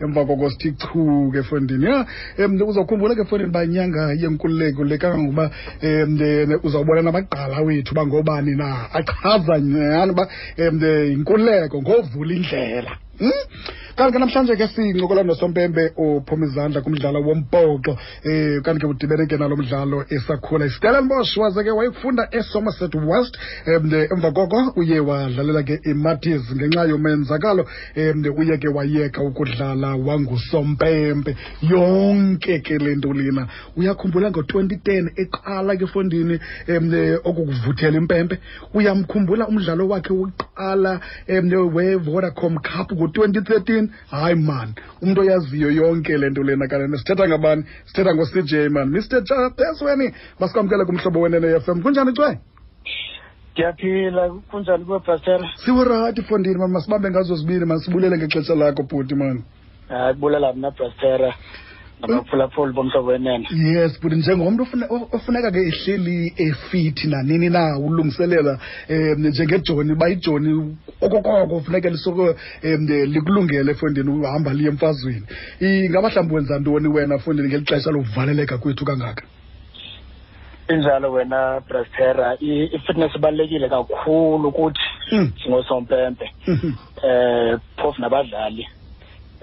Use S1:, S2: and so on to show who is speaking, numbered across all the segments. S1: emva koko sithi chuke efondini ya um uzawukhumbula ke efondini banyanga yenkululeko le kangangoba um uzawubona nabagqala wethu bangobani na achaza nyani uba um yinkululeko ngovula indlela Hmm? kanti ke namhlanje ke sincokola nosompempe ophuma izandla kumdlalo wombhoxo eh kanti ke udibene ke nalo mdlalo esakhula istellenbosch waze ke wayekufunda esomerset west um emva koko uye wadlalela ke imatis ngenxa yomenzakalo um uye ke wayeka ukudlala wangusompempe yonke ke le nto lena uyakhumbula ngo-2010 eqala ke efondini um okukuvuthela impempe uyamkhumbula umdlalo wakhe wokuqala um we-vodacom cup ngo-2013 hayi man umuntu oyaziyo yonke le nto lena kanene sithetha ngabani sithetha ngo-cj man mr chapesweni basikwamkele kumhlobo wenene fm kunjani cwe
S2: ndiyaphila kunjani kuwe bhastera
S1: siwurayithi fondini man masibambe ngazo zibini man sibulele ngexesha lakho bhuti man
S2: hayi bulela mna bhastera nabaphulaphuli bomhlobo wenene
S1: yes but njengomntu ofune- o- ofuneka ke ehleli efithi nanini na ulungiselela um njengejoni bayijoni okokoko funeke lisoko um likulungele efondini uhamba liye emfazweni ingaba mhlawumbi wenza ntoni wena fondini ngeli xesha lokuvaleleka kwethu kangaka
S2: injalo wena bhastera i-fitness ibalulekile kakhulu kuthi
S1: Mm.
S2: singosompempe
S1: hmm,
S2: eh phofu nabadlali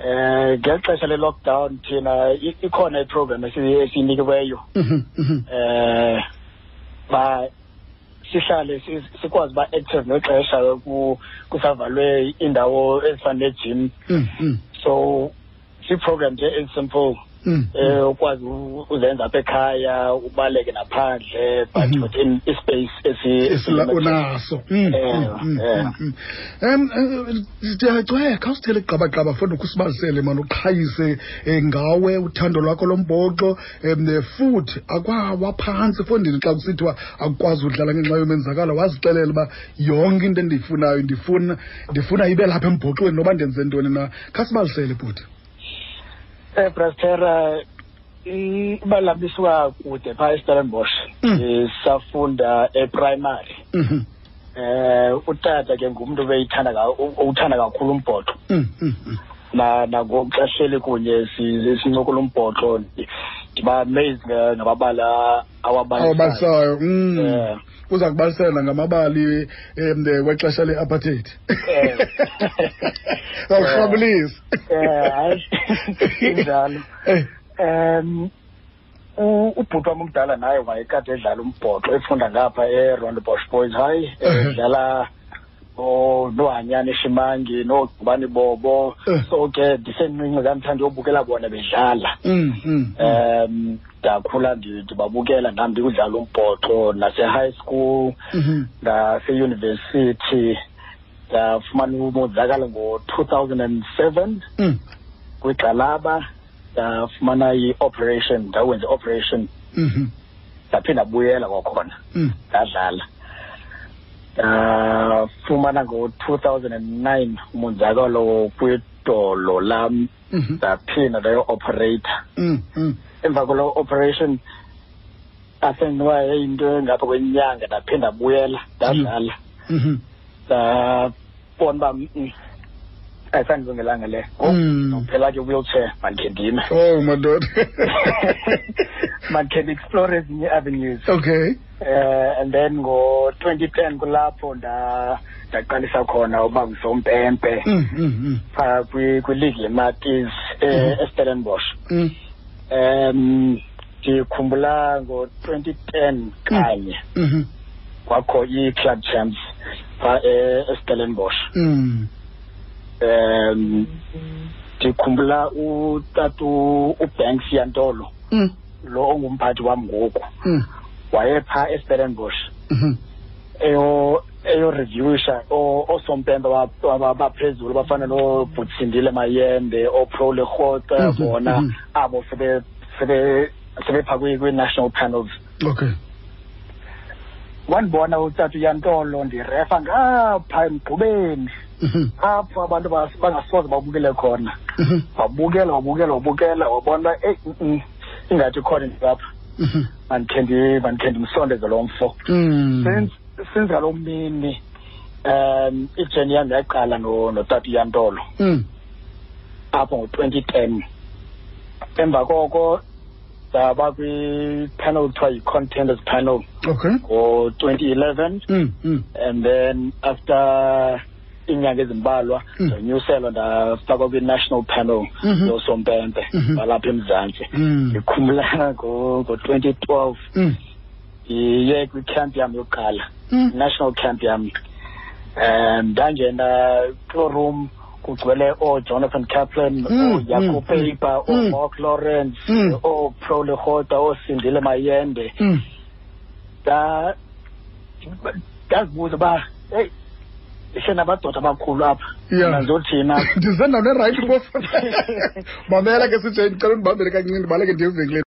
S2: eh ngexesha le-lockdown thina i- ikhona iprogram esi- esiyinikiweyo
S1: hmm,
S2: eh ba sihlale si- sikwazi uba active ngexesha ku- kusavalwe iindawo ezifana nejim
S1: hmm,
S2: so si-program nje ezisimple
S1: hmm.
S2: eh ukwazi u- uzenza apha ekhaya ubaleke naphandle but
S1: Mhm.
S2: within ispace esi-
S1: esila unaso Mm,
S2: Ewe,
S1: mm, mm,
S2: ewe.
S1: mm, mm. um ndiyacweka usithele gqabagqaba fona ukusibalisele mani uqhayise um ngawe uthando lwakho lombhoxo um futhi akwawaphantsi fondini xa kusithiwa akukwazi udlala ngenxa yomenzakalo wazixelela uba yonke into endiyifunayo ndifuna ndifuna ibe lapha embhoxweni noba ndenze ntoni na khasibalisele bhuti
S2: Eh Brastera ibalabiswa kude phaa eStellenbosch.
S1: Mm.
S2: Eh, Safunda eprimary.
S1: Mhm,
S2: Eh utata ke ngumuntu obeyithanda ka- o- owuthanda kakhulu umbhoxo.
S1: mm, mm, mm.
S2: Na nangokuxashele kunye si- sincokola umbhoxo. Ndiba amazed nga- ngamabala
S1: Oh,
S2: awabalisayo.
S1: awubalisayo
S2: Eh.
S1: um uza kubalisela ngamabali um wexesha le-apartheid
S2: Eh.
S1: awurhabulisi
S2: Eh hayi injalo.
S1: Eh,
S2: Um u- ubhuti wam omdala naye wayekade edlala umbhoxo efunda ngapha eRondebosch Boys High
S1: Ehhe.
S2: edlala o- nohanyana eshimangi noogqubani bobo
S1: Eh.
S2: so ke ndisemncinci ndandithanda uyobukela bona bedlala
S1: mm,
S2: um ndakhula ndi- ndibabukela nam ndikudlala umbhoxo nase-high school
S1: Mhm,
S2: naseyunivesithi ndafumana umonzakalo ngo-two thousand and seven
S1: mm,
S2: kwigxalaba ndafumana i-operation ndawenza i-operation
S1: mhm,
S2: ndaphinda buyela kwakhona
S1: mm,
S2: ndadlala ndafumana ngo-2009 umonzakalo kwidolo lam
S1: mhm, mm,
S2: ndaphinda ndayo-operator emva kwalo operation asendinoba yayinto engapha kwenyanga ndaphinda buyela ndadlala
S1: mm, mhm.
S2: ndabona uba mm, ayisandilungelanga le
S1: Mm. Oh,
S2: ngokuphela ke wheelchair mandikhe ndime
S1: ow madoda
S2: mandikhe ndi-explore ezinye avenues
S1: okay
S2: eh and then ngo-2010 kulapho nda- ndaqalisa khona uba ngusompempe
S1: Mm, mm,
S2: phaa kwi- kwiligi yematis eh,
S1: Mhm.
S2: estellenbosch
S1: mm,
S2: um ndikhumbula ngo-2010 kanye
S1: mm,
S2: kwakho i-club champs phaa e- estellenbosch
S1: mm,
S2: um ndikhumbula utatu ubanks yantolo
S1: mm,
S2: lo ongumphathi wam ngoku
S1: mm,
S2: wayephaa estellenbosch
S1: mhm.
S2: eyo eyorevisha o- osompempe ba- ba- baphezulu bafana nobutsindile mayembe opro lerhota
S1: Mhm,
S2: bona
S1: mhm.
S2: abo sebe- sebe- sebepha kwi- kwi-national panels
S1: okay
S2: wandibona utata uyantolo ndirefa ngapha emgqubeni
S1: Mhm,
S2: apho abantu bas- bangasoze babukele khona
S1: mhm,
S2: wabukela wabukela wabukela wabona uba eyi mm, mm, ingathi khona ndilapha
S1: mhm,
S2: mandikhe ndi- mandikhe ndimsondeze lo mfo
S1: mm.
S2: since since ngaloo mini um ijeni yam yaqala no- notata uyantolo
S1: Mm,
S2: apho ngo-twenty ten emva koko ndaba kwi-panel kuthiwa yi-contenders panel
S1: okay
S2: ngo-twenty eleven
S1: Mm, mm.
S2: and then after iinyanga ezimbalwa
S1: Mm.
S2: ndonyuselwa ndafakwa kwi-national panel
S1: Mhm.
S2: yosompempe
S1: Mhm.
S2: balapha emzantsi
S1: Mm,
S2: ndikhumla ngo-twenty twelve
S1: mm,
S2: ndiye kwicamp yam yokuqala
S1: mm.
S2: national camp yam um ndangena kuloo room kugcwele oojonathan kaplan
S1: Mm, mm,
S2: ooyaco paper
S1: mm.
S2: oomark lawrence
S1: Mm.
S2: ooprow lehota oosindile mayende
S1: Mm,
S2: nda- ndazibuza uba eyi isenabadoda abakhulu apha
S1: Yeah.
S2: mna ndizothina
S1: ndizendawo nerayithi bof mamela ke sitshe ndicela undibambele kancinci ndibaleke ndiye evekile